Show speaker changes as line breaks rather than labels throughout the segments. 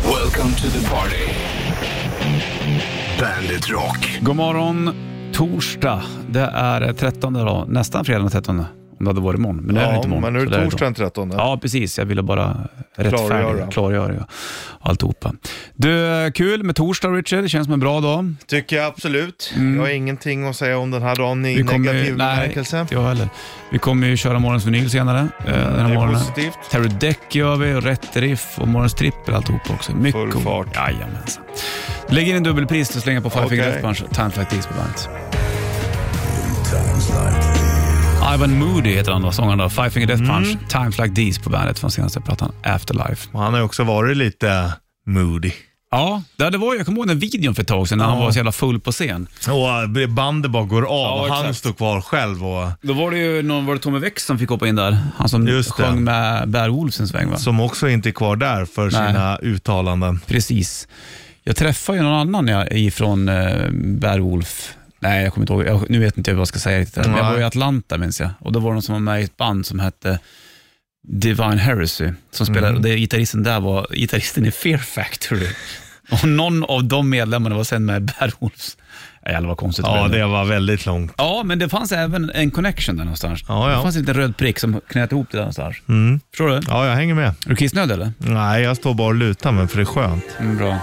Welcome to the party. Bandit Rock.
God morgon, torsdag. Det är 13 då, nästan fredag den 13 om det hade varit imorgon. Men det är det
ja,
inte imorgon.
men nu är
så
det
då.
torsdag den 13.
Ja, precis. Jag ville bara rättfärdiga,
Klargöra.
klargöra ja. alltihopa. Du, kul med torsdag Richard. Det känns som en bra dag.
Tycker jag absolut. Jag har ingenting att säga om den här dagen i
Vi kommer
negativ
ju, nej,
bemärkelse.
inte jag heller. Vi kommer ju köra morgonens vinyl senare eh, den här
Det är
morgonen.
positivt.
Terry Deck gör vi, och rätt riff och morgonens trippel alltihopa också. Mycket
Full
coolt.
fart.
Jajamensan. Lägg in en dubbelpris och slänga på Five Finger
Okej.
Death Punch och Time Flight Deeds på bandet. Ivan Moody heter han då, sångaren då. Five Finger
Mm.
Death Punch, Time Flight Deeds på bandet från senaste plattan Afterlife.
Och Han har ju också varit lite moody.
Ja, det det var, jag kommer ihåg den videon för ett tag sedan när han var så jävla full på scen.
Och eh, bandet bara går av
Ja,
och han
exakt.
står kvar själv. Och,
Då var det ju någon, var det Tommy Wex som fick hoppa in där? Han som
Just det.
sjöng med Bear Wolves en sväng va?
som också inte är kvar där för sina uttalanden.
Precis. Jag träffade ju någon annan jag, ifrån eh, Bear Wolf. Nej, jag kommer inte ihåg. Jag, nu vet inte jag vad jag ska säga riktigt. Men jag
Nej.
var i Atlanta minns jag. Och då var det någon som var med i ett band som hette Divine Heresy. Som spelade,
Mm.
och det, gitarristen där var gitarristen i Fear Factory. Och någon av de medlemmarna var sen med i Bear Wolves. Nej, Jävlar vad konstigt
Ja,
blev nu.
det var väldigt långt.
ja, men det fanns även en connection där någonstans.
Ja, ja.
Det fanns en liten röd prick som knöt ihop det där någonstans. Förstår du?
Ja, jag hänger med.
Är du kissnödig eller?
Nej, jag står bara och lutar mig för det är skönt.
Mm, bra.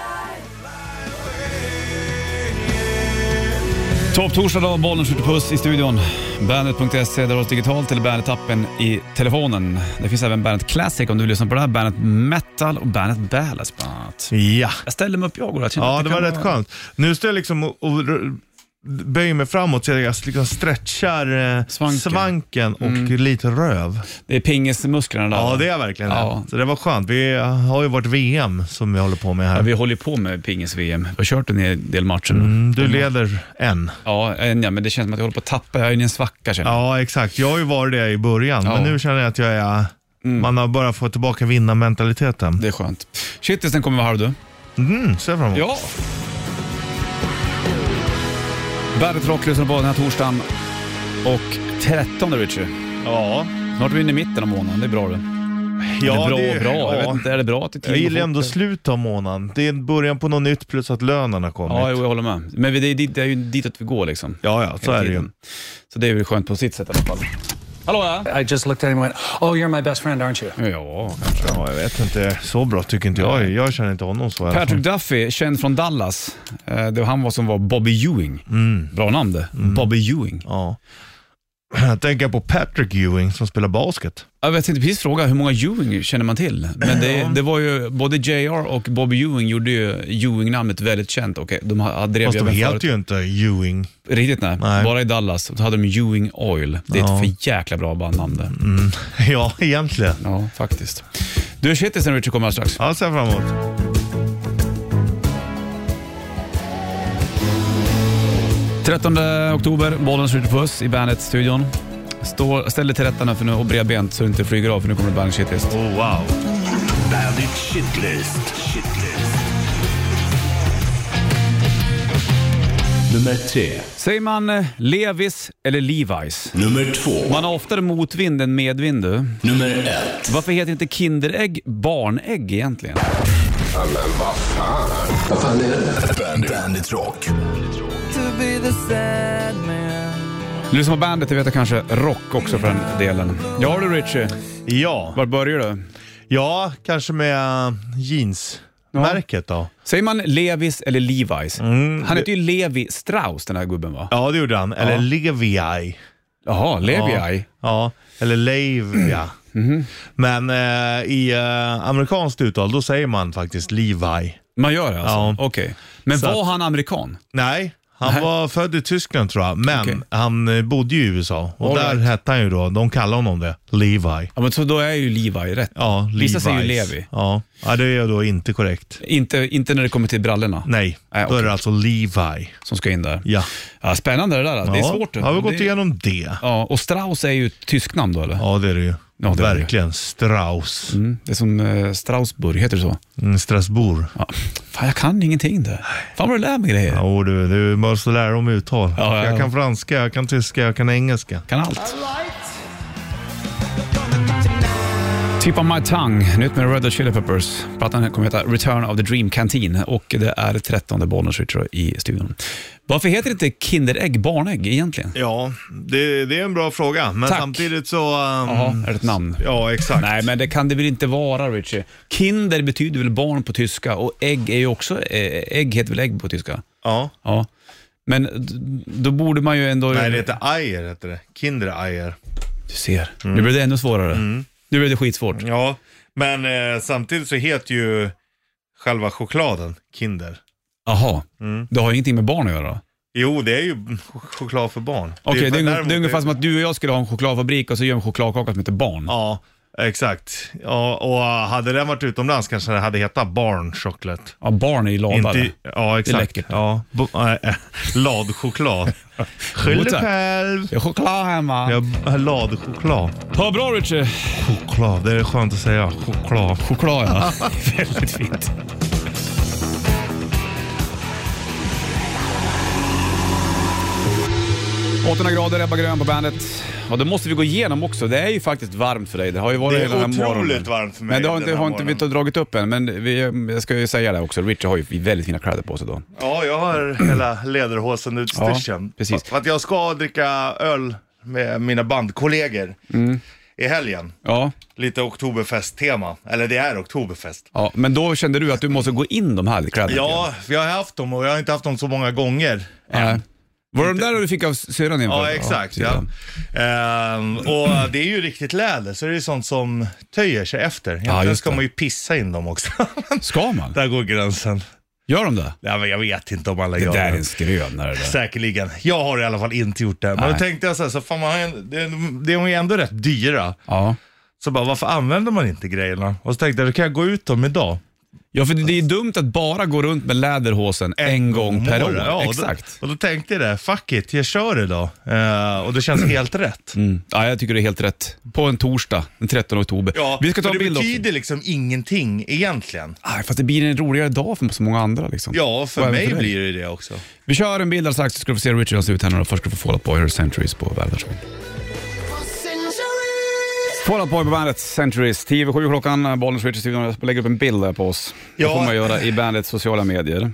Topp torsdag dag, bollen skjuter puss i studion. Bandet.se, där oss digitalt eller Bandet-appen i telefonen. Det finns även Bandet Classic om du lyssnar på det här. Bandet Metal och Bandet Ballast bland annat.
Ja.
Jag ställde mig upp jag och jag kände
Ja,
att
det
kan
var rätt
vara-
skönt. Nu står jag liksom och, och r- böjer mig framåt så jag liksom stretchar eh,
Svanken.
svanken, Mm. och lite röv.
Det är pingismusklerna där.
Ja, det är verkligen
Ja.
det. Så det var skönt. Vi har ju varit VM som vi håller på med
Ja,
här.
vi håller ju på med pingis-VM. Vi har kört en del matcher nu.
Mm, Du leder en.
Ja, en, ja, men det känns som att jag håller på att tappa. Jag är inne i en svacka känner jag.
Ja, exakt. Jag har ju varit det i början,
Ja.
men nu känner jag att jag är...
Mm.
Man har börjat få tillbaka vinnarmentaliteten.
Det är skönt. Shitlisten kommer vara här du.
Mm, ser jag fram emot.
Ja. Bandet Rock lyssnar på den här torsdagen. Och 13 Richie.
Ja,
Snart är vi inne i mitten av månaden, det är bra det. Eller bra och bra, jag vet inte, är det bra att det är
Jag
tid
gillar
och
ändå
fort?
slutet av månaden. Det är början på något nytt plus att lönen har kommit.
Ja, jo, jag håller med. Men vi- det är, dit- det är ju ditåt vi går liksom.
ja, ja, så
hela
är det ju.
tiden. Så det är väl skönt på sitt sätt i alla fall. Hallå ja!
I just looked at him and went, Oh, you're my best friend, aren't you?
Ja,
Ja, jag vet inte. Så bra tycker inte jag. Jag känner inte honom så. i alla fall.
Patrick Duffy, känd från Dallas. Eh, Det var han var som var Bobby Ewing. Bra namn det. Bobby Ewing.
Mm. Ja. Jag tänker på Patrick Ewing som spelar basket.
Jag vet inte precis fråga, hur många Ewing känner man till? Men det, det var ju, både JR och Bobby Ewing gjorde ju Ewing-namnet väldigt känt och de ha- drev
Fast
ju
de
även
heter
förut-
ju inte Ewing.
Riktigt nej.
Nej.
bara i Dallas. Då hade de Ewing Oil. Det är
Ja. Mm.
ett för jäkla bra bandnamn det.
Ja, egentligen.
Ja, faktiskt. Du, shitlisten Richard kommer alldeles strax.
Ja, ser jag fram emot.
Ja. 13 oktober, bollen skjuter puss i Bandet-studion. Stå- Ställ dig till rätta nu för nu och bredbent så du inte flyger av för nu kommer det Bandet Shitlist.
Oh, wow.
Bandit Shitlist. Shitlist. Nummer tre.
Säger man eh, Levis eller Levi's?
Nummer två.
Man har oftare motvind än medvind du.
Nummer ett.
Varför heter inte Kinderägg barnägg egentligen?
Bandit, Bandit Rock.
Du som har bandet, det vet jag kanske rock också för den delen. Ja du Richie,
Ja.
var börjar du?
ja, kanske med jeansmärket då.
Säger man Levis eller Levi's? Han heter ju Levi Strauss den här gubben va?
Mm, Ja, det gjorde han. Eller
Ja.
Levi.
Jaha, Levi.
Ja, eller Levi.
Mm-hmm.
Men eh, i eh, amerikanskt uttal, då säger man faktiskt Levi.
Man gör det alltså?
Ja.
Okej. Men
Så
var
att-
han amerikan?
Nej, han var född i Tyskland tror jag, men
Okej.
han eh, bodde ju i USA. Och
All
där
right.
hette han ju då, de kallar honom det, Levi.
Ja men så då är ju Levi rätt.
Ja,
Vissa säger ju
Levi's.
Levi.
Ja. ja, det är då inte korrekt.
Inte, inte när det kommer till brallorna
Nej,
Nej,
då
okej.
är det alltså Levi.
som ska in där.
Ja.
Ja, spännande det där. alltså. Det är
ja.
svårt.
Har vi gått
det...
igenom det?
Ja, och Strauss är ju ett tyskt namn då eller?
Ja, det är det ju.
Ja, det är det.
Verkligen. Strauss.
Mm, det är som eh, Straussburg, heter det så?
Mm, Strasbourg.
Ja. Fan, jag kan ingenting där. Fan vad du lär mig grejer.
Ja, och du, du måste lära om uttal.
Ja, ja, ja.
Jag kan franska, jag kan tyska, jag kan engelska.
Kan allt. Tip of my tongue, nytt med Red Hot Chili Peppers. Plattan kommer heta Return of the Dream Canteen och det är 13 Bollnäs Ritcher i studion. Varför heter det inte Kinderägg barnägg egentligen?
Ja, det, det är en bra fråga. Men
Tack.
samtidigt så... ehm,
Ja, är det ett namn?
Ja, exakt.
Nej, men det kan det väl inte vara, Richie? Kinder betyder väl barn på tyska och ägg är ju också, eh, ägg heter väl ägg på tyska?
Ja.
Ja. Men d- då borde man ju ändå...
Nej, det heter Eier, heter det. Kindereier.
Du ser,
Mm.
nu blev det ännu svårare. Nu blev det skitsvårt.
Ja, men eh, samtidigt så heter ju själva chokladen Kinder.
Jaha, det har ju ingenting med barn att göra?
Jo, Mm. det är ju ch- choklad för barn.
Okej,
ju-
det, är ungef-
däremot-
det är ungefär som att du och jag skulle ha en chokladfabrik och så gör vi en chokladkaka som heter barn.
Ja, exakt. Ja, och eh, hade den varit utomlands kanske det hade hetat barnchoklad.
Ja, barn är ju ladade.
Inte, ja, exakt.
läckert.
Ja, bo, äh, äh, ladchoklad. Skyll dig
tack.
själv.
Jag har choklad hemma.
Jag har ladchoklad.
Ha bra Richie.
Choklad, det är skönt att säga. Choklad.
Choklad ja. Väldigt fint. ...800 grader, Ebba Grön på bandet. Och det måste vi gå igenom också. Det är ju faktiskt varmt för dig. Det har ju varit
Det är
hela den här
otroligt
morgonen.
varmt för mig
Men det har, inte,
den här
har inte vi
morgonen.
dragit upp än. Men vi, jag ska ju säga det också. Richard har ju väldigt fina kläder på sig då.
Ja, jag har hela läderhosen utstyrseln.
Ja, precis.
För att jag ska dricka öl med mina bandkollegor
Mm.
i helgen.
Ja.
Lite Oktoberfest-tema. Eller det är Oktoberfest.
ja. Men då kände du att du måste gå in de här kläderna.
Ja, för jag har haft dem och jag har inte haft dem så många gånger.
Nej. Var det de där du fick av syrran inför?
Ja, exakt.
precis,
Ja. Ehm, och det är ju riktigt läder, så det är sånt som töjer sig efter. Egentligen
just
ska
det.
man ju pissa in dem också.
Ska man?
Där går gränsen.
Gör de det?
Ja, men jag vet inte om alla
Det
gör
där är
det.
en skrönare. det.
Säkerligen. Jag har i alla fall inte gjort det. Men
Nej.
då tänkte jag så här, så fan, man har ju, det, det är ju ändå rätt dyra.
Ja.
Så bara, varför använder man inte grejerna? Och så tänkte jag, då kan jag gå ut dem idag.
Ja, för det är dumt att bara gå runt med läderhosen en, gång per år.
Ja, och då-
Exakt.
Och då tänkte jag det, fuck it, jag kör idag. Eh, och det känns helt rätt.
Mm. Ja, jag tycker det är helt rätt. På en torsdag den 13 oktober.
Ja,
Vi ska ta
för
en bild
Det
också.
betyder liksom ingenting egentligen.
Aj, fast det blir en roligare dag för så många andra. Liksom.
Ja,
Och
för
även
mig
dig.
blir det ju det också.
Vi kör en bild alldeles strax så ska du få se hur Richard ser ut här nu. då. Först ska du få Fall Out Boy och Centuries på bandet. Fall Out Boy på bandet, Centuries. 10 över 7 klockan, Bollnäs Richard studion. Jag lägger upp en bild där på oss. Det
Ja.
får man göra i bandets sociala medier.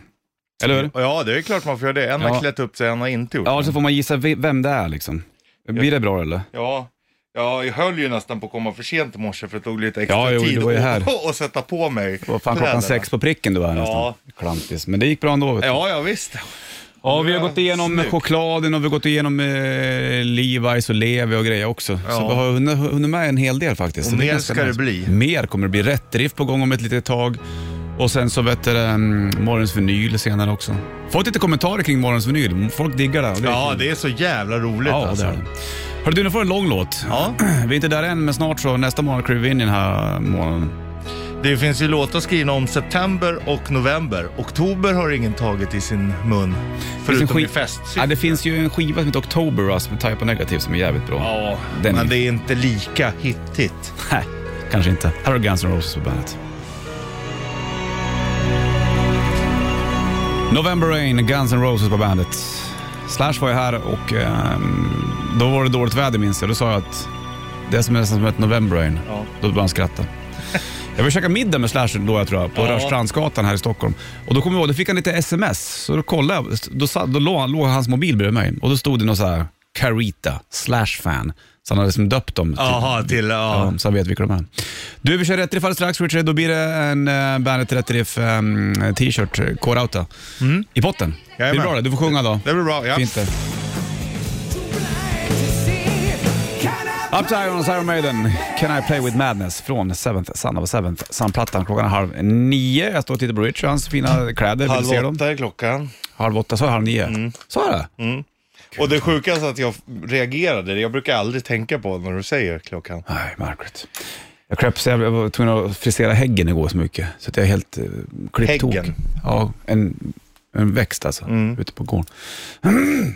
Eller hur?
Ja, det är klart man får göra det. En
Ja.
har klätt upp sig, en har inte gjort
Ja,
det.
så får man gissa ve- vem det är liksom. Blir det bra eller?
Ja. Ja, jag höll ju nästan på att komma för sent i morse för det tog lite extra
Ja, jo,
tid
du var ju
att-
här.
att sätta på mig
Det var fan klockan
kläderna.
sex på pricken du var här nästan.
Ja.
Klantis. Men det gick bra ändå. Vet du.
Ja, ja visst.
Ja, vi har gått igenom
Snyggt.
chokladen och vi har gått igenom eh, Levi's och Levi och grejer också. Så
Ja.
vi har hunnit, hunnit med en hel del faktiskt.
Och
Så det är
mer
ganska
ska det
nice.
bli.
Mer kommer det bli. Rätt drift på gång om ett litet tag. Och sen så vet du, det, mm, morgons vinyl senare också. Fått lite kommentarer kring morgons vinyl. Folk diggar det. och det är
Ja,
kul.
det är så jävla roligt
Ja,
alltså.
det är det. Hörru du, nu får du en lång låt.
Ja,
Vi är inte där än, men snart så nästa månad kliver vi in i den här månaden.
det finns ju låtar skrivna om september och november. Oktober har ingen tagit i sin mun,
finns en
förutom
ski-
i fest.
Ja, det finns ju en skiva som heter October Rust med Type O Negative som är jävligt bra.
Ja,
Den-
men det är inte lika hittigt.
Nej, kanske inte. Här har Guns N' Roses på bandet. November Rain, Guns N' Roses på bandet. Slash var ju här och ehm, då var det dåligt väder minns jag. Då sa jag att det är som nästan som ett November Rain.
Ja.
Då började han skratta. Jag var och käkade middag med Slash då jag tror jag, på
Ja.
Rörstrandsgatan här i Stockholm. Och då kom jag ihåg, då fick han lite sms. Så då kollade jag, då, sa- då låg, låg hans mobil bredvid mig och då stod det något så här Carita, Slash-fan. Så han hade liksom döpt dem. till-
Jaha, till... Ja.
Ja, så vet vilka de är. Du, vi kör rätt riff alldeles strax Richard. Då blir det en uh, Bandet Rätt Riff ehm, t-shirt, eh, K-Rauta, i potten. Blir det
Mm. Jajamän.
bra det? Du får sjunga då.
Det blir bra, ja.
Fint det. Up to Irons, Iron Maiden, Can I Play With Madness från Seventh Son of a Seventh Son-plattan. Klockan är halv nio. Jag står och tittar på Richard och hans fina kläder. Vill du
Halv
se dem?
åtta Mm. är klockan.
Halv åtta, sa jag halv nio? Sa jag det?
Och det sjukaste att jag reagerade, jag brukar aldrig tänka på när du säger klockan.
Nej, Margaret. Jag kröp så jag blev- jag var tvungen att frisera häggen igår så mycket. Så att jag är helt eh, klipptok.
Häggen?
Ja, en, En växt alltså,
Mm.
ute på gården.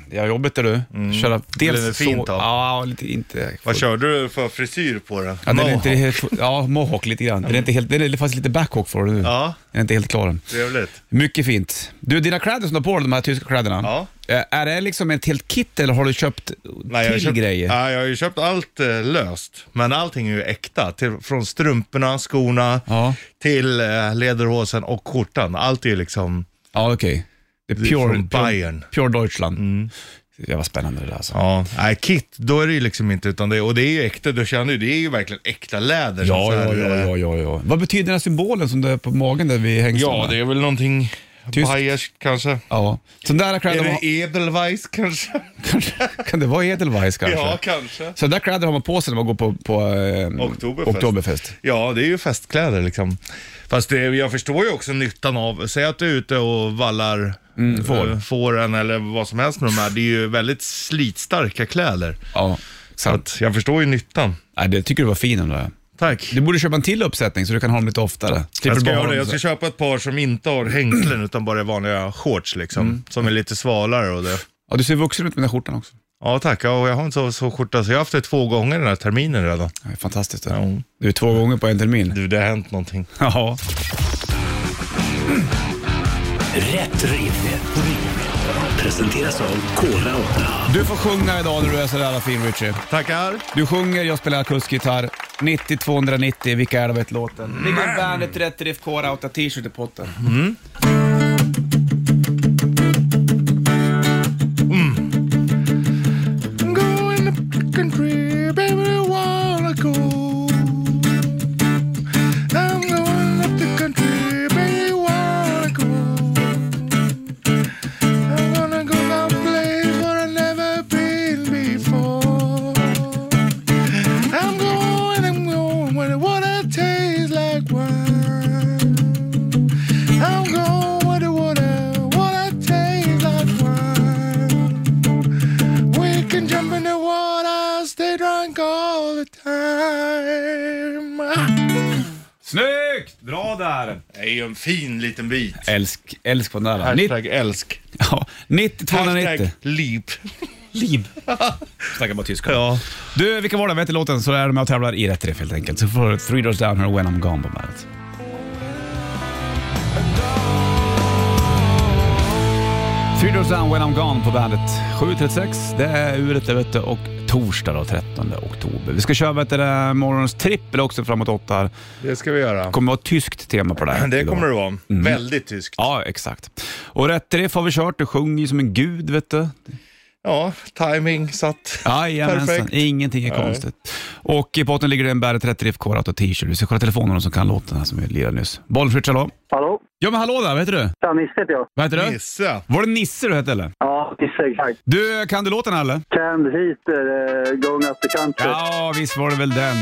Det är jobbigt är du. Köra, dels
det fint
så,
då?
Ja, lite inte...
Vad körde du för frisyr på den?
Ja, den är
Mohawk.
inte helt, ja, mohawk lite grann. Den är, inte helt, den är faktiskt lite backhawk för du.
Ja.
Den är inte helt klar än.
Trevligt.
Mycket fint. Du, dina kläder som du har på dig, de här tyska kläderna.
Ja.
Eh, Är det liksom ett helt kit eller har du köpt
Nej, jag, har
till
köpt,
grejer?
Ja, jag har ju köpt allt eh, löst, men allting är ju äkta. Till, från strumporna, skorna,
Ja,
till eh, lederhosen och skjortan. Allt är liksom...
ja okej. Det
Det är
är pure,
från Bayern.
Pure, pure Deutschland. Det var spännande det där alltså.
Ja, nej, kit, då är det ju liksom inte utan det. Och det är ju äkta, du känner ju, det är ju verkligen äkta läder. som
Ja,
så
ja,
här,
ja,
eh,
ja, ja, ja. Vad betyder den här symbolen som du har på magen där vid hängslen?
Ja, det är väl någonting
Tyst.
bayerskt kanske.
Ja. Sådana där kläder
Är
har...
det edelweiss kanske?
kanske- kan det vara edelweiss kanske?
Ja, kanske.
Så där kläder har man på sig när man går på, på eh,
Oktoberfest.
Oktoberfest.
Ja, det är ju festkläder liksom. Fast det, jag förstår ju också nyttan av, säg att du är ute och vallar mm,
får.
fåren eller vad som helst med de här. Det är ju väldigt slitstarka kläder.
Ja,
Så
sant.
att jag förstår ju nyttan.
Nej, det tycker du var fin ändå.
Tack.
Du borde köpa en till uppsättning så du kan ha dem lite oftare. Slipper
Jag ska
bara ha
göra det. typ
dem
Jag
så-
ska köpa ett par som inte har hängslen utan bara är vanliga shorts liksom. Som är lite svalare och det.
Ja, du ser vuxen ut med den här skjortan också.
Ja tack, ja, och jag har inte så, så skjorta så jag har haft det två gånger den här terminen redan.
Ja, fantastiskt. Det.
Ja.
Du är två gånger på en termin.
Du, det har hänt någonting.
Ja.
Rätt riff. Presenteras av Kora 8.
Du får sjunga idag när du är så jävla fin Richie.
Tackar.
Du sjunger, jag spelar akusgitarr. 90-290, vilka är det vet låten? Ligger en Bandet Rätt Riff Core Outa t-shirt i potten.
I'm going up the country, baby, I wanna go. I'm going up the country, baby, I wanna go. I'm gonna go someplace where I've never been before. I'm going, I'm going where the water tastes like wine. I'm going where the water, water tastes like wine. We can jump in the water, stay drunk all the time.
Snyggt! Bra där!
Det är ju en fin liten bit.
Älsk, älsk på den där. Nitt-
Hashtag älsk.
ja, 90-290.
Hashtag leap.
Liv. Snackar bara tyska.
Ja.
Du, vilka var det? Vet du låten så är de med och tävlar i rätt riff helt enkelt. Så får du Three Doors Down här When I'm Gone på bandet. Three Doors Down When I'm Gone på bandet. 7.36, det är uret där vet du och torsdag då, 13 oktober. Vi ska köra vet du, det, morgonens trippel också framåt åtta här.
Det ska vi göra.
kommer vara tyskt tema på det här.
Det
idag.
kommer det vara.
Mm.
Väldigt tyskt.
Ja, exakt. Och rätt riff har vi kört. Du sjunger ju som en gud vet du.
Ja, timing satt.
Jajamensan,
Perfekt.
ingenting är konstigt. Och i potten ligger det en Bandet 30 FK och t-shirt. Vi ska kolla telefonen och så kan låten här som vi lirade nyss. Bollfritz, hallå?
Hallå?
Ja men hallå där, vad heter du?
Ja, Nisse heter jag.
Vad heter du?
Nisse.
Var det Nisse du hette eller?
Ja, Nisse exakt.
Du, kan du låten eller?
Canned Heater, eh, Going Up the Country.
Ja, visst var det väl den.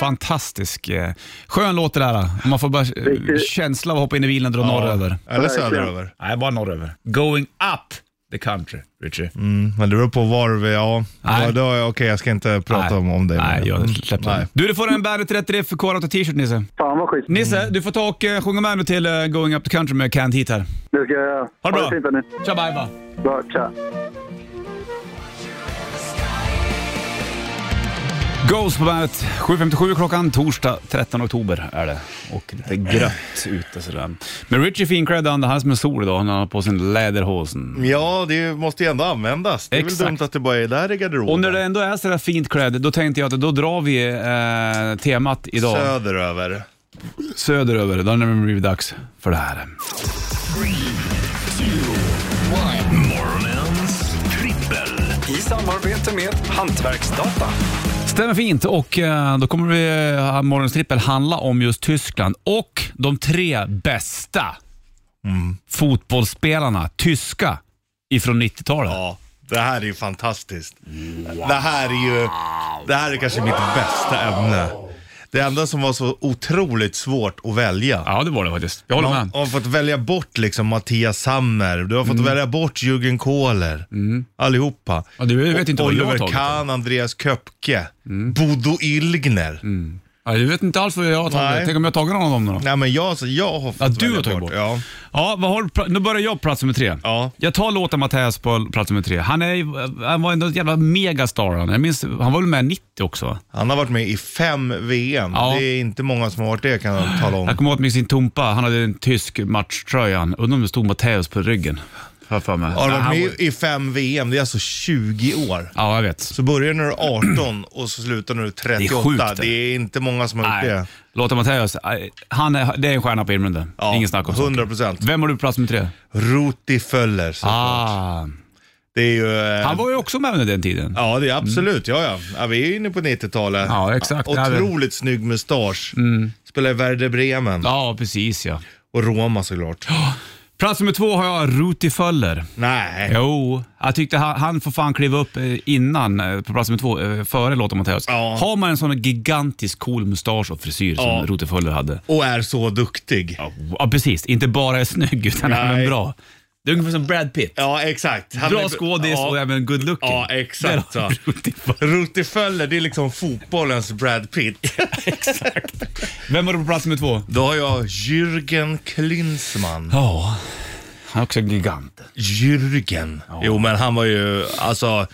Fantastisk. eh, Skön låt det där. Man får bara eh,
Riktigt.
känsla av att hoppa in i bilen och dra norröver.
Eller
Verkligen.
söderöver.
Nej, bara norröver. Going up the country, Richie.
Mm, men det beror på var vi Ja.
Nej.
Ja, då, okej, jag ska inte prata om, om det.
Nej, jag
Mm,
släppte
nej.
den. Du, du får en Bandet 30 FK och t-shirt Nisse.
Fan vad skit.
Nisse, du får ta och eh, sjunga med nu till eh, Going Up the Country med Canned Heat här.
Det ska jag göra.
Ha det bra.
fint nu.
Tja, bye, bye.
Bra, tja.
Ghost på bandet. 7.57 klockan, torsdag 13 oktober är det. Och det är grött ute sådär. Men Richie Fincred, han han är som en sol idag. Han har på sin läderhosen.
Ja, det måste ju ändå användas. Det är
Exakt.
väl dumt att det bara är där i garderoben.
Och när det ändå är sådär fint klädd, då tänkte jag att då drar vi eh, temat idag
Söderöver.
söderöver. Då har det blivit dags för det här.
Morgonens trippel.
i samarbete med Hantverksdata.
Stämmer fint och eh, då kommer vi, eh, morgonens trippel handla om just Tyskland och de tre bästa fotbollsspelarna, tyska, ifrån 90-talet.
Ja, det här är ju fantastiskt. Det här är ju, det här är kanske mitt bästa ämne. Det enda som var så otroligt svårt att välja.
Ja, det var det faktiskt. Jag håller
Man
med. Mm.
har fått välja bort liksom Mattias Sammer, du har fått välja bort Jürgen Kohler, allihopa.
Ja, du vet inte vad jag har Mm.
Oliver
tagit. Mm.
Kahn, Andreas Köpke, Bodo Ilgner.
Ja, du vet inte alls vad jag har tagit.
Nej.
Tänk om jag har tagit någon av dem då?
Nej men jag, så jag har fått
Ja, du
välja
har tagit bort.
Ja.
Ja, vad har du, pra- nu börjar jag på plats nummer tre.
Ja.
Jag tar låten Mattias på plats nummer tre. Han, är, ju- han var ändå en jävla megastar. Han. Jag minns, han var väl med 90 också? va?
Han har varit med i fem VM.
Ja.
Det är inte många som har varit det kan jag tala om.
Jag kommer ihåg med sin Tumpa, han hade en tysk matchtröja. Undrar om det stod Mattias på ryggen. Har jag för mig.
Har
Ja,
varit
han
med
var-
i fem VM, det är alltså 20 år.
Ja, jag vet.
Så börjar när du är 18 och så slutar när du är 38. Det är,
sjukt, det.
inte många som har gjort
Nej.
det.
Låta Mattias, nej, han är, det är en stjärna på himlen det.
Ja,
Ingen snack om
100%.
Vem har du på plats nummer tre?
Ruti Föller såklart.
Ah,
Det är ju... eh,
han var ju också med under den tiden.
Ja, det är absolut. Ja, ja. ja vi är ju inne på 90-talet.
Ja, exakt.
Otroligt snygg mustasch. Mm. Spelar i Werder Bremen
Ja, precis ja.
och Roma såklart.
Plats nummer två har jag Ruti Föller.
Nej.
Jo, jag tyckte han, han får fan kliva upp eh, innan, eh, på plats nummer två, eh, före Lotta Mattias.
Ja.
Har man en sån gigantisk cool mustasch och frisyr
Ja.
som Ruti Föller hade.
Och är så duktig. Ja,
Ja, precis. Inte bara är snygg, utan
Nej.
även bra. Det är ungefär som Brad Pitt.
exakt. Han
Bra
är-
skådis och även good looking.
Ja, exakt
Där har
så.
Ruti Föller.
Ruti Föller, det är liksom fotbollens Brad Pitt.
Vem var du på plats nummer två?
Då har jag Jürgen Klinsmann.
Ja, han är också en gigant.
Jürgen. Jo, men han var ju, alltså,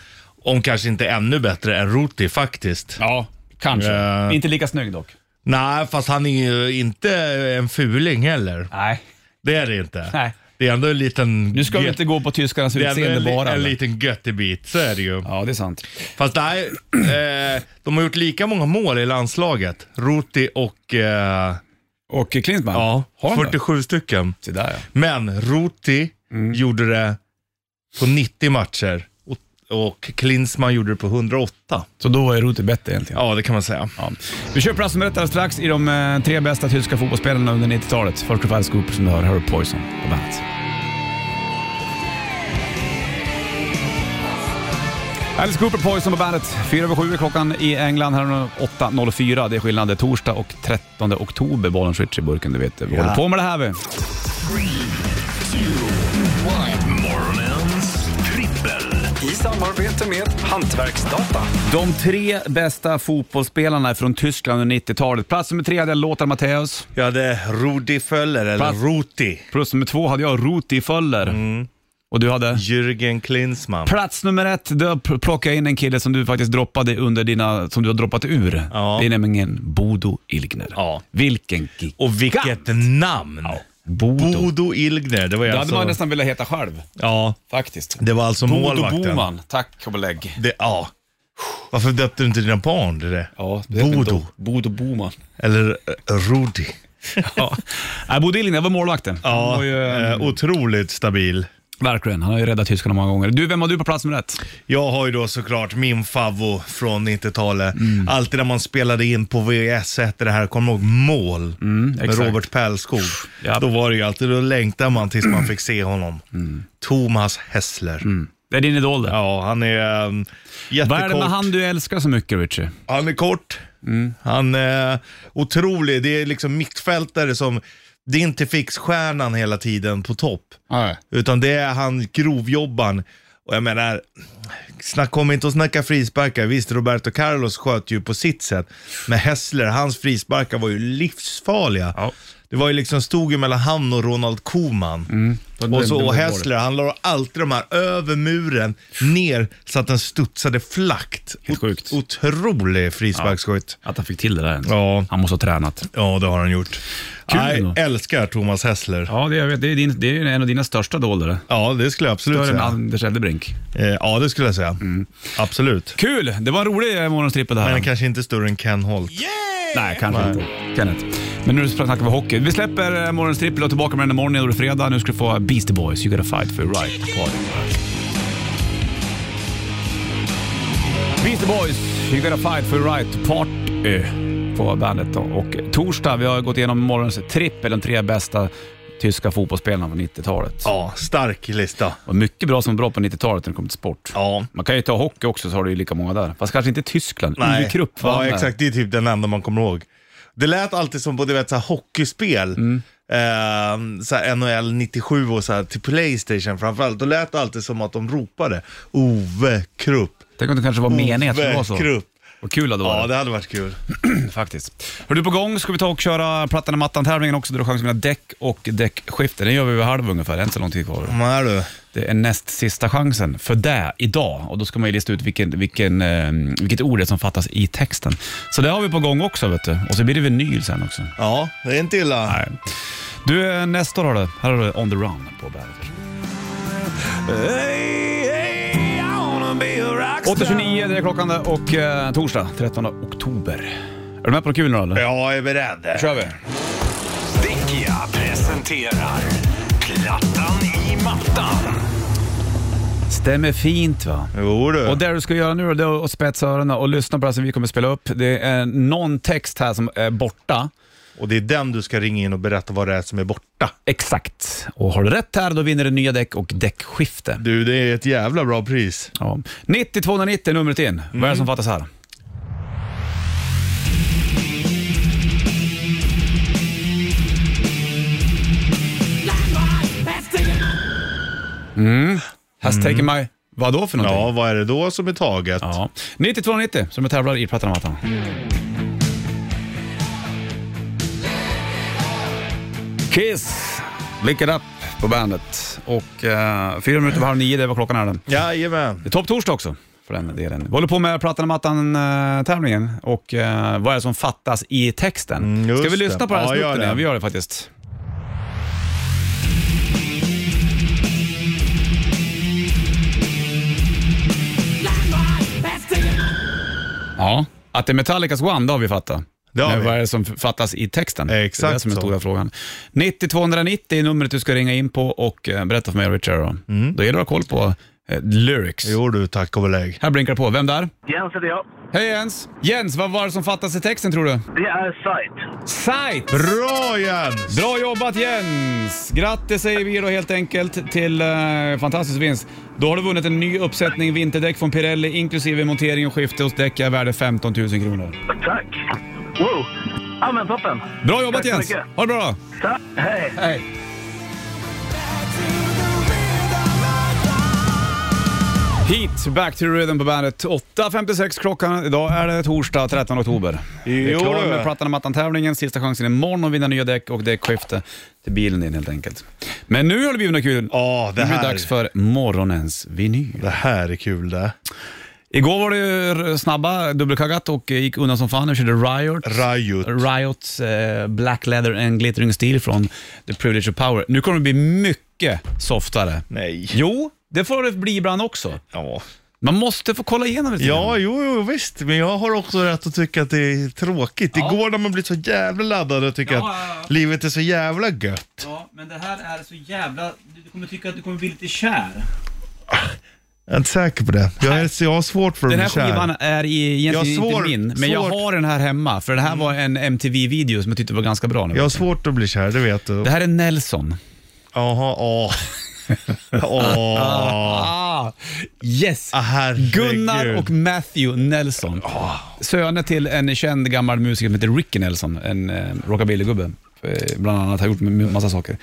om kanske inte ännu bättre än Ruti faktiskt.
Ja, kanske.
Eh.
Inte lika snygg dock.
Nej, fast han är ju inte en fuling heller.
Nej.
Det är det inte.
Nej.
Det är ändå en liten...
Nu ska vi
gött-
inte gå på tyskarnas
det är ändå
utseende
en, li-
bara.
en
eller?
liten göttebit, så är det ju.
Ja, det är sant.
Fast nej, eh, de har gjort lika många mål i landslaget. Ruti och... Eh,
Och Klinsmann?
ja,
har han det?
47 stycken.
Se där ja.
Men Ruti
Mm.
gjorde det på 90 matcher och, och Klinsmann gjorde det på 108.
Så då var ju Ruti bättre egentligen.
Ja, det kan man säga.
Ja. Vi kör plats nummer ett alldeles strax i de eh, tre bästa tyska fotbollsspelarna under 90-talet. Först och främst Cooper som du hör, Harry Poison på bandet. Alice Cooper Poison på bandet. Fyra över sju är klockan i England. Här är det 8.04. Det är skillnad. Det är torsdag och 13 oktober. Bollen switch i burken, du vet. det. Vi håller på med det här vi.
Morgonens trippel.
I samarbete med Hantverksdata.
De tre bästa fotbollsspelarna från Tyskland under 90-talet. Plats nummer tre hade jag Lothar Matthäus.
Jag hade Rudi Föller, eller
Fast-
Ruti.
Plats nummer två hade jag Ruti Föller. Och du hade?
Jürgen Klinsmann.
Plats nummer ett, då pl- plockade jag in en kille som du faktiskt droppade under dina, som du har droppat ur.
Ja.
Det är nämligen Bodo Ilgner.
Ja.
Vilken gig.
Och vilket namn!
Bodo.
Bodo Ilgner, det var ju
Det hade
alltså...
man nästan velat heta själv,
Ja,
faktiskt.
det var alltså
Bodo
målvakten.
Boman. Tack och belägg.
Det, ja. Varför döpte du inte dina barn till det?
Ja, det heter
Bodo.
inte Bodo Boman.
Eller eh, Rudi.
Ja. Nej, Bodo Ilgner var målvakten. Han
Ja,
var ju, eh,
eh, otroligt stabil.
verkligen. Han har ju räddat tyskarna många gånger. Du, vem har du på plats nummer ett?
Jag har ju då såklart min favvo från 90-talet.
Mm.
Alltid när man spelade in på VHS1, det här, kommer du ihåg mål? med
Mm, exakt.
Robert Pärlskog.
Ja. Mm.
Då var det ju alltid, då längtade man tills man fick se honom. Thomas Hessler.
Det är din idol det.
Ja, han är um, jättekort.
Mm. Vad är det med han Mm. du älskar så mycket, Richie?
Han är kort. Han är otrolig. Det är liksom mittfältare som, det är inte fixstjärnan hela tiden på topp.
Nej.
Utan det är han grovjobban. Och jag menar, snack, kom inte och snacka frisparkar. Visst, Roberto Carlos sköt ju på sitt sätt. Men Hessler, hans frisparkar var ju livsfarliga.
Ja.
Det var ju liksom, stod ju mellan han och Ronald Koeman.
Mm.
Och så och Hessler, han la alltid de här över muren, ner, så att den studsade flackt.
Helt sjukt.
Otrolig frisparksskytt.
Att han fick till det där ens.
Ja.
Han måste ha tränat.
Ja, det har han gjort.
Kul
Nej,
ändå.
älskar Thomas Hessler. Ja.
Ja, det, jag vet, det, är din, det är en av dina största doler.
det skulle jag absolut
Större än
säga.
Anders Eldebrink.
Eh, Ja, det skulle jag säga. Absolut.
Kul! Det var en rolig eh, morgonstrippel det här.
Men den kanske inte är större än Ken Holt.
Nej, kanske inte. Kenneth. Men nu snackar vi hockey. Vi släpper eh, morgonstrippel och tillbaka med den imorgon. Då är det fredag. Nu ska du få Beastie Boys, You Gotta Fight For Your Right på Party. Beastie Boys, You Gotta Fight For Your Right Party på bandet. då. Och torsdag, vi har gått igenom morgonens trippel, de tre bästa tyska fotbollsspelarna på 90-talet.
Ja, stark lista.
Och mycket bra som var bra på 90-talet när det kom till sport.
Ja.
Man kan ju ta hockey också så har du ju lika många där. Fast kanske inte Tyskland. Uwe Krupp vann
Ja,
där.
exakt. Det är typ den enda man kommer ihåg. Det lät alltid som på du vet, så här, hockeyspel. Eh, så här, NHL 97 och så här, till Playstation framförallt. Då lät det alltid som att de ropade Ove Krupp.
Tänk om det kanske var meningen att det var
Ove
så.
Krupp.
Vad kul det hade
Ja,
varit
det hade varit kul.
faktiskt. Hör du på gång ska vi ta och köra plattan i mattan-tävlingen också, där du har chans att vinna däck och däckskifte. Den gör vi vid halv ungefär, det är inte så lång tid kvar.
Vad är du?
Det är näst sista chansen för det idag och då ska man ju lista ut vilken, vilken, eh, vilket ord det är som fattas i texten. Så det har vi på gång också vet du. Och så blir det vinyl sen också.
Ja, det är inte illa.
Nej. Du, eh, nästa år har du, här har du On the Run på bandet. 8.29 det är klockan där och eh, torsdag 13 oktober. Är du med på något kul nu då, eller?
Jag är beredd.
kör vi.
Dickia presenterar Plattan i mattan.
Stämmer fint va?
Jo du.
Och det du ska göra nu då, det är att spetsa öronen och lyssna på det som vi kommer spela upp. Det är någon text här som är borta.
Och det är den du ska ringa in och berätta vad det är som är borta.
Exakt. Och har du rätt här, då vinner du nya däck och däckskifte.
Du, det är ett jävla bra pris.
Ja. 90 290 är numret in. Vad är det som
Mm.
fattas här? Hashtaggen mm. mig. Vad då för någonting?
Ja, vad är det då som är taget?
Ja. 90 290 som jag tävlar i Plattan och Mattan. Kiss! Lick it up på bandet. Och eh, fyra minuter över halv nio, det var klockan här. Den.
Jajamän.
Det är topptorsdag också för den delen. Vi håller på med Plattan och mattan-tävlingen och eh, vad är det som fattas i texten.
Mm, just
Ska vi
det.
lyssna på den här
Ja, gör
snutten
det.
igen? Vi gör det faktiskt. Ja, att det är Metallicas One, det har vi fattat.
Det har
Men
vi.
vad är det som fattas i texten? det är det
Exakt
som är
så.
stora frågan. 90 290 är numret du ska ringa in på och eh, berätta för mig och Richard. Då, då gäller det att ha koll på eh, lyrics.
Mm. Jo du, tack och belägg.
Här blinkar det på. Vem där?
Jens heter jag.
Hej Jens! Jens, vad var det som fattades i texten tror du?
Det är Sight.
Sight!
Bra Jens!
Bra jobbat Jens! Grattis säger vi då helt enkelt till eh, fantastisk vinst. Då har du vunnit en ny uppsättning vinterdäck från Pirelli inklusive montering och skifte hos Däcka värde 15 000 kronor.
Tack. Wow. Ja, men toppen.
Bra jobbat
Tack så
Jens!
mycket.
Ha det bra!
Tack. Hej.
Hej! Heat, back to the rhythm på bandet. 8.56 klockan. Idag är det torsdag 13 oktober. Vi är
Jo,
klara
du.
med Plattan och mattan-tävlingen. Sista chansen imorgon att vinna nya däck och däckskifte till bilen din helt enkelt. Men nu har det blivit något kul.
Ja, det
Nu är det
här,
dags för morgonens vinyl.
det här är kul det.
Igår var det ju snabba dubbelkaggat och eh, gick undan som fan. Vi körde Riot.
Riot.
Riots eh, Black Leather and Glittering Steel från The Privilege of Power. Nu kommer det bli mycket softare.
Nej.
Jo, det får det bli ibland också.
Ja.
Man måste få kolla igenom lite
Ja,
grann.
jo, jo, visst. Men jag har också rätt att tycka att det är tråkigt. Det går när man blir så jävla laddad och tycker
Ja, ja, ja.
att livet är så jävla gött.
ja, men det här är så jävla... Du kommer tycka att du kommer bli lite kär.
Jag är inte säker på det. Jag, är, jag har svårt för att
Den
bli
här skivan
kär.
är i, egentligen
Jag har
inte
svår-
min, men jag
svår- Mm.
har den här hemma. För det här var en MTV-video som jag tyckte var ganska bra. Nu.
Jag har svårt att bli kär, det vet du.
Det här är Nelson.
Jaha, åh. Åh.
Ah, yes!
Ah, herregud. Ah.
Gunnar och Matthew Nelson. Söner till en känd gammal musiker som heter Ricky Nelson, en eh, rockabillygubbe. Eh, Bland annat har gjort en massa saker.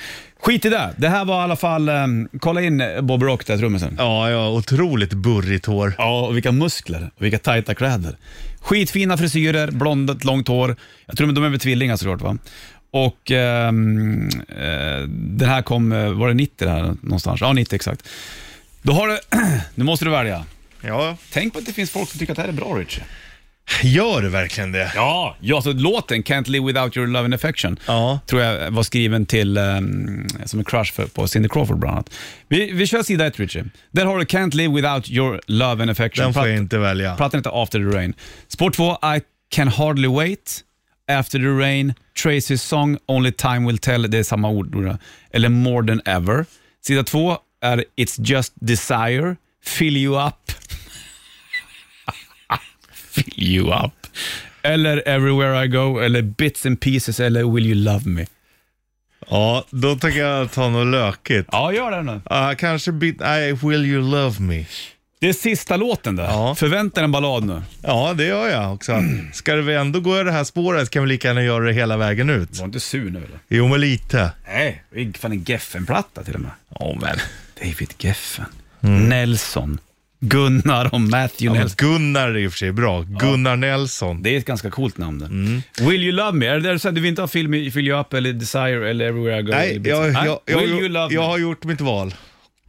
Skit i det. Det här var i alla fall, eh, kolla in Bob Rock, där trummisen.
Ja, ja, otroligt burrigt hår.
Ja, och vilka muskler och vilka tajta kläder. Skitfina frisyrer, blondet, långt hår. Jag tror de är väl tvillingar såklart va? Och ehm, eh, den här kom, eh, var det 90 det här någonstans? Ja, 90 exakt. Då har du, nu måste du välja.
Ja.
Tänk på att det finns folk som tycker att det här är bra, Richie.
Gör det verkligen det?
Ja, ja så låten Can't Live Without Your Love and Affection
Ja.
tror jag var skriven till ehm, som en crush för, på Cindy Crawford bland annat. Vi, vi kör sida ett, Richie. Där har du Can't Live Without Your Love and Affection.
Den får
Prat-
jag inte välja.
Pratar inte After the Rain. Spår två, I Can Hardly Wait. After the Rain, Tracy's Song, Only Time Will Tell, det är samma ord. tror jag. Eller More Than Ever. Sida två är It's Just Desire, Fill You Up. fill You Up. Eller Everywhere I Go, eller Bits and Pieces, eller Will You Love Me.
Ja, då tänker jag ta något lökigt.
Ja, gör det nu.
Ah, kanske bit, I Will You Love Me.
Det är sista låten där.
Ja.
Förvänta dig en ballad nu.
Ja, det gör jag också.
Mm.
Ska vi ändå gå i det här spåret kan vi lika gärna göra det hela vägen ut.
Var inte sur nu eller?
Jo, men lite.
Nej, det är fan en Geffen-platta till och med.
Ja, men.
Mm. David Geffen, Nelson, Gunnar och Matthew
Ja, men
Nelson.
Gunnar är i och för sig bra. Gunnar Nelson.
Det är ett ganska coolt namn. det. Will You Love Me? Är det där så att du vill inte ha film i Fill You Up eller Desire eller Everywhere I Go?
Nej,
i-
jag, jag, jag,
Will You Love
jag
Me?
har gjort mitt val.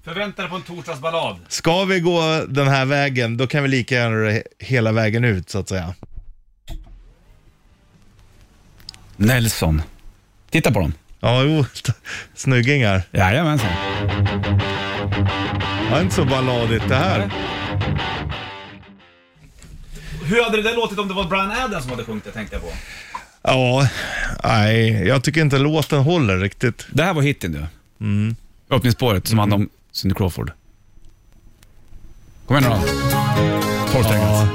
Förvänta dig på en torsdagsballad.
Ska vi gå den här vägen, då kan vi lika gärna göra det hela vägen ut så att säga.
Nelson. Titta på dem.
Ja, jo. Snyggingar.
Jajamensan.
Det är inte så balladigt det här.
Hur hade det där låtit om det var Brian Adams som hade sjungit det, tänkte jag på.
Ja, nej, jag tycker inte låten håller riktigt.
Det här var hitten du. Mm. Öppningsspåret som handlade om Cindy Crawford. Kom igen nu då. Torrsträngat.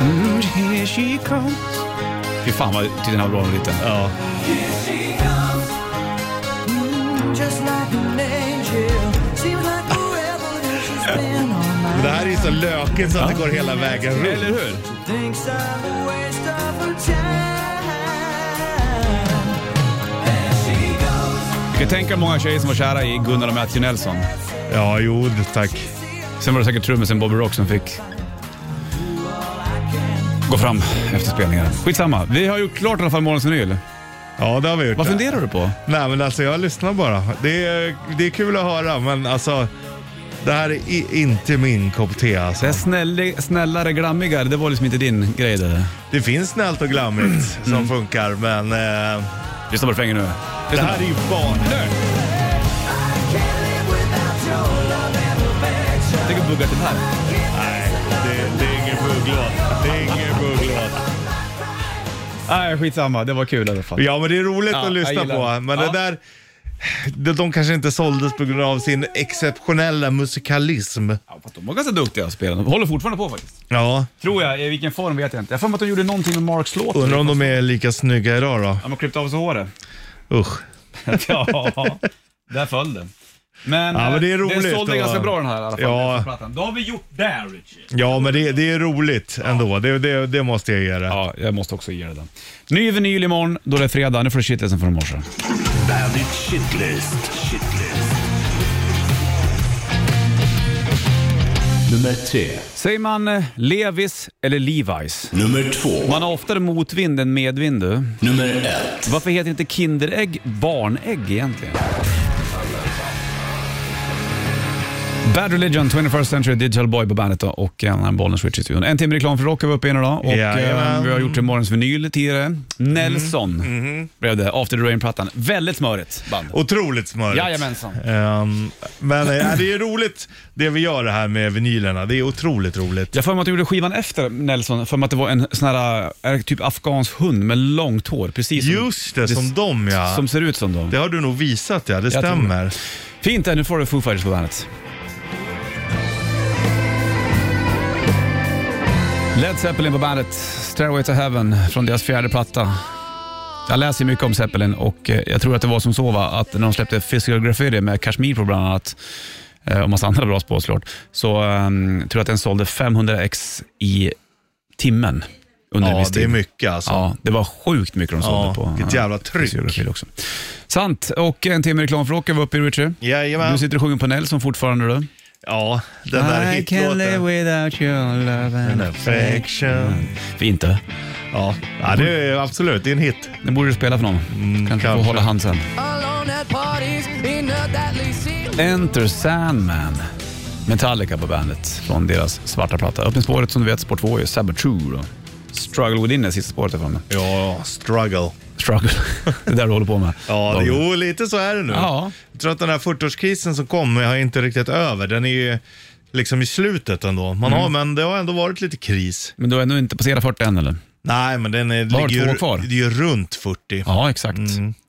Mm, here she comes. Fy fan vad tyckte den här var bra liten.
Ja.
Just like an angel, seems like forever that she's been on my
Det här är ju så lökigt så att det går hela vägen
Eller
runt.
hur?
Thinks I'm a waste of her time.
Du kan tänka dig många tjejer som var kära i Gunnar och Matthew Nelson.
Ja, jo, tack.
Sen var det säkert trummisen Bobby Rock som fick gå fram efter spelningen. Skitsamma, vi har gjort klart i alla fall morgonens vinyl.
Ja, det har vi gjort.
Vad
det.
funderar du på?
Nej, men alltså jag lyssnar bara. Det är, det är kul att höra, men alltså det här är i, inte min kopp te alltså.
Det här snälla, snällare, glammigare, det var liksom inte din grej det. där.
Det finns snällt och glammigt som funkar, men eh,
Lyssna på refrängen nu.
det här är ju barnlöst.
Can't live without your love and affection.
Tänk att bugga till det här.
Nej, det, det är ingen bugglåt. Det är ingen bugglåt.
Nej, skitsamma. Det var kul i alla fall.
Ja, men det är roligt
Ja,
att
jag
lyssna
gillar
på.
det.
Men
Ja.
det där, de, de kanske inte såldes på grund av sin exceptionella musikalism.
Ja, fast de var ganska duktiga att spela. De håller fortfarande på faktiskt.
Ja,
Tror jag. I vilken form vet jag inte. Jag har för mig att de gjorde någonting med Marks låt.
undrar om de är lika snygga idag då.
De har klippt av sig håret.
Usch.
ja, där föll den. Men,
Ja, men det är
eh,
roligt
den sålde
och-
ganska bra den här i alla fall.
Ja.
den här plattan. Då har vi gjort det, Richie.
Ja, men det, det är roligt ändå. Det, det, det måste jag ge det.
Ja, jag måste också ge dig den. Ny vinyl imorgon, då det är fredag. Nu får du shitlisten från i morse.
Bandit Shitlist. Shitlist.
Nummer tre.
Säger man eh, Levis eller Levi's?
Nummer två.
Man har oftare motvind än medvind du.
Nummer ett.
Varför heter inte Kinderägg barnägg egentligen? Bad Religion, 21st Century Digital Boy på bandet då, och en annan bollen switch i studion. En timme reklam för rock har vi uppe i nu då och
Jajamän. Mm. Mm-hmm.
eh, vi har gjort morgons vinyl tidigare. Nelson blev det, After the Rain-plattan. Väldigt smörigt band.
Otroligt smörigt.
Jajamensan.
Ehm, men eh, det är roligt det vi gör det här med vinylerna. Det är otroligt roligt.
Jag har för mig att du gjorde skivan efter Nelson, för mig att det var en sån här, eh, typ afghansk hund med långt hår. Precis som,
Just det, som dem ja.
som ser ut som dem.
Det har du nog visat ja, det
tror det.
stämmer.
Fint, där, nu får du Foo Fighters på bandet. Led Zeppelin på bandet, Stairway to Heaven från deras fjärde platta. Jag läser mycket om Zeppelin och eh, jag tror att det var som så va, att när de släppte Physical Graffiti med Kashmir på bland annat eh, och massa andra bra spår såklart, så ehm, tror jag att den sålde 500 ex i timmen under en
Ja,
viss tid.
det är mycket alltså.
Ja, det var sjukt mycket de sålde
Ja,
på.
vilket
ja,
jävla tryck.
Physical Graffiti också. Sant, och en timme reklam för rocken var uppe i Richard. Du
Jajamän.
sitter och sjunger på Nelson fortfarande du.
Ja, den där hitlåten.
without your love and
Affection.
Fint du.
Ja, ja det är absolut. Det är en hit.
Den borde du spela för någon. kanske få
Mm, kanske.
hålla hand sen.
Alone at parties, in a deadly sea.
Enter Sandman. Metallica på bandet från deras svarta platta. Öppningsspåret som du vet, spår två, är Saboteur. och Struggle Within är sista spåret där framme.
Ja, struggle.
Struggle, det är där du håller på med.
Ja,
Dagen.
jo, lite så är det nu.
Ja.
Jag tror att den här 40-årskrisen som kom har inte riktigt över. Den är ju liksom i slutet ändå.
Mm.
Man har, men det har ändå varit lite kris.
Men du har ändå inte passerat 40 än eller?
Nej, men den är,
Bara
ligger
två
ju,
kvar.
Det är ju runt 40.
Ja, exakt.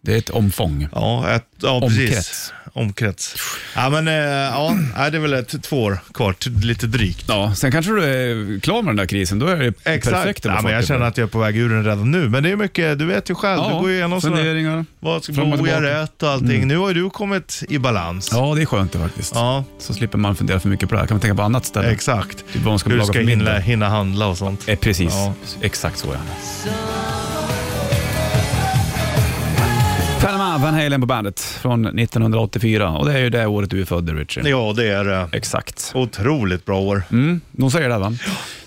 Det är ett omfång.
Mm. Ja, ett, ja precis.
Omkrets.
Omkrets. Ja, men eh, ja, nej, det är väl ett, två år kvar, t- lite drygt.
Ja, sen kanske du är klar med den där krisen. Då är det perfekt. att vara
Ja, men jag
40.
känner att jag är på väg ur den redan nu. Men det är mycket, du vet ju själv,
Ja,
du går igenom sådana...
funderingar.
Vad ska
fram och
bo jag
tillbaka. Mm.
rätt och allting. Nu har ju du kommit i balans.
Ja, det är skönt det faktiskt.
Ja,
Så slipper man fundera för mycket på det här. Kan man tänka på annat ställe?
exakt.
Typ vad man ska
Hur du
laga
ska
för
hinna,
middag.
hinna handla och sånt.
Eh, precis,
Ja.
exakt så ja. Panama Ah, Van Halen på bandet från 1984 och det är ju det året du är född Richie.
Ja, det är
eh,
det.
Exakt.
Otroligt bra år.
Mm, de säger det va?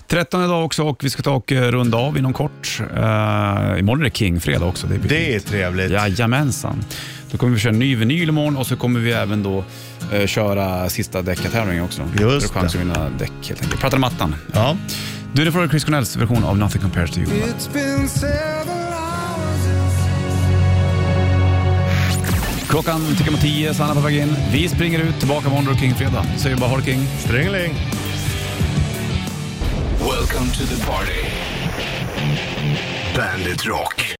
13 idag också och vi ska ta och eh, runda av inom kort. Uh, imorgon är det King-fredag också. Det blir
Det är trevligt.
Jajamensan. Då kommer vi köra ny vinyl imorgon och så kommer vi även då eh, köra sista deckartävlingen också. Då är
det.
chans att vinna däck helt enkelt. Prata om mattan.
Ja.
Du, det får Chris Cornells version av Nothing Compares To You.
It's been several hours.
Klockan tickar mot tio, Sanna på väg in. Vi springer ut, tillbaka imorgon och King-fredag. Säger bara ha det King.
Strängling.
Welcome to the party. Bandit Rock.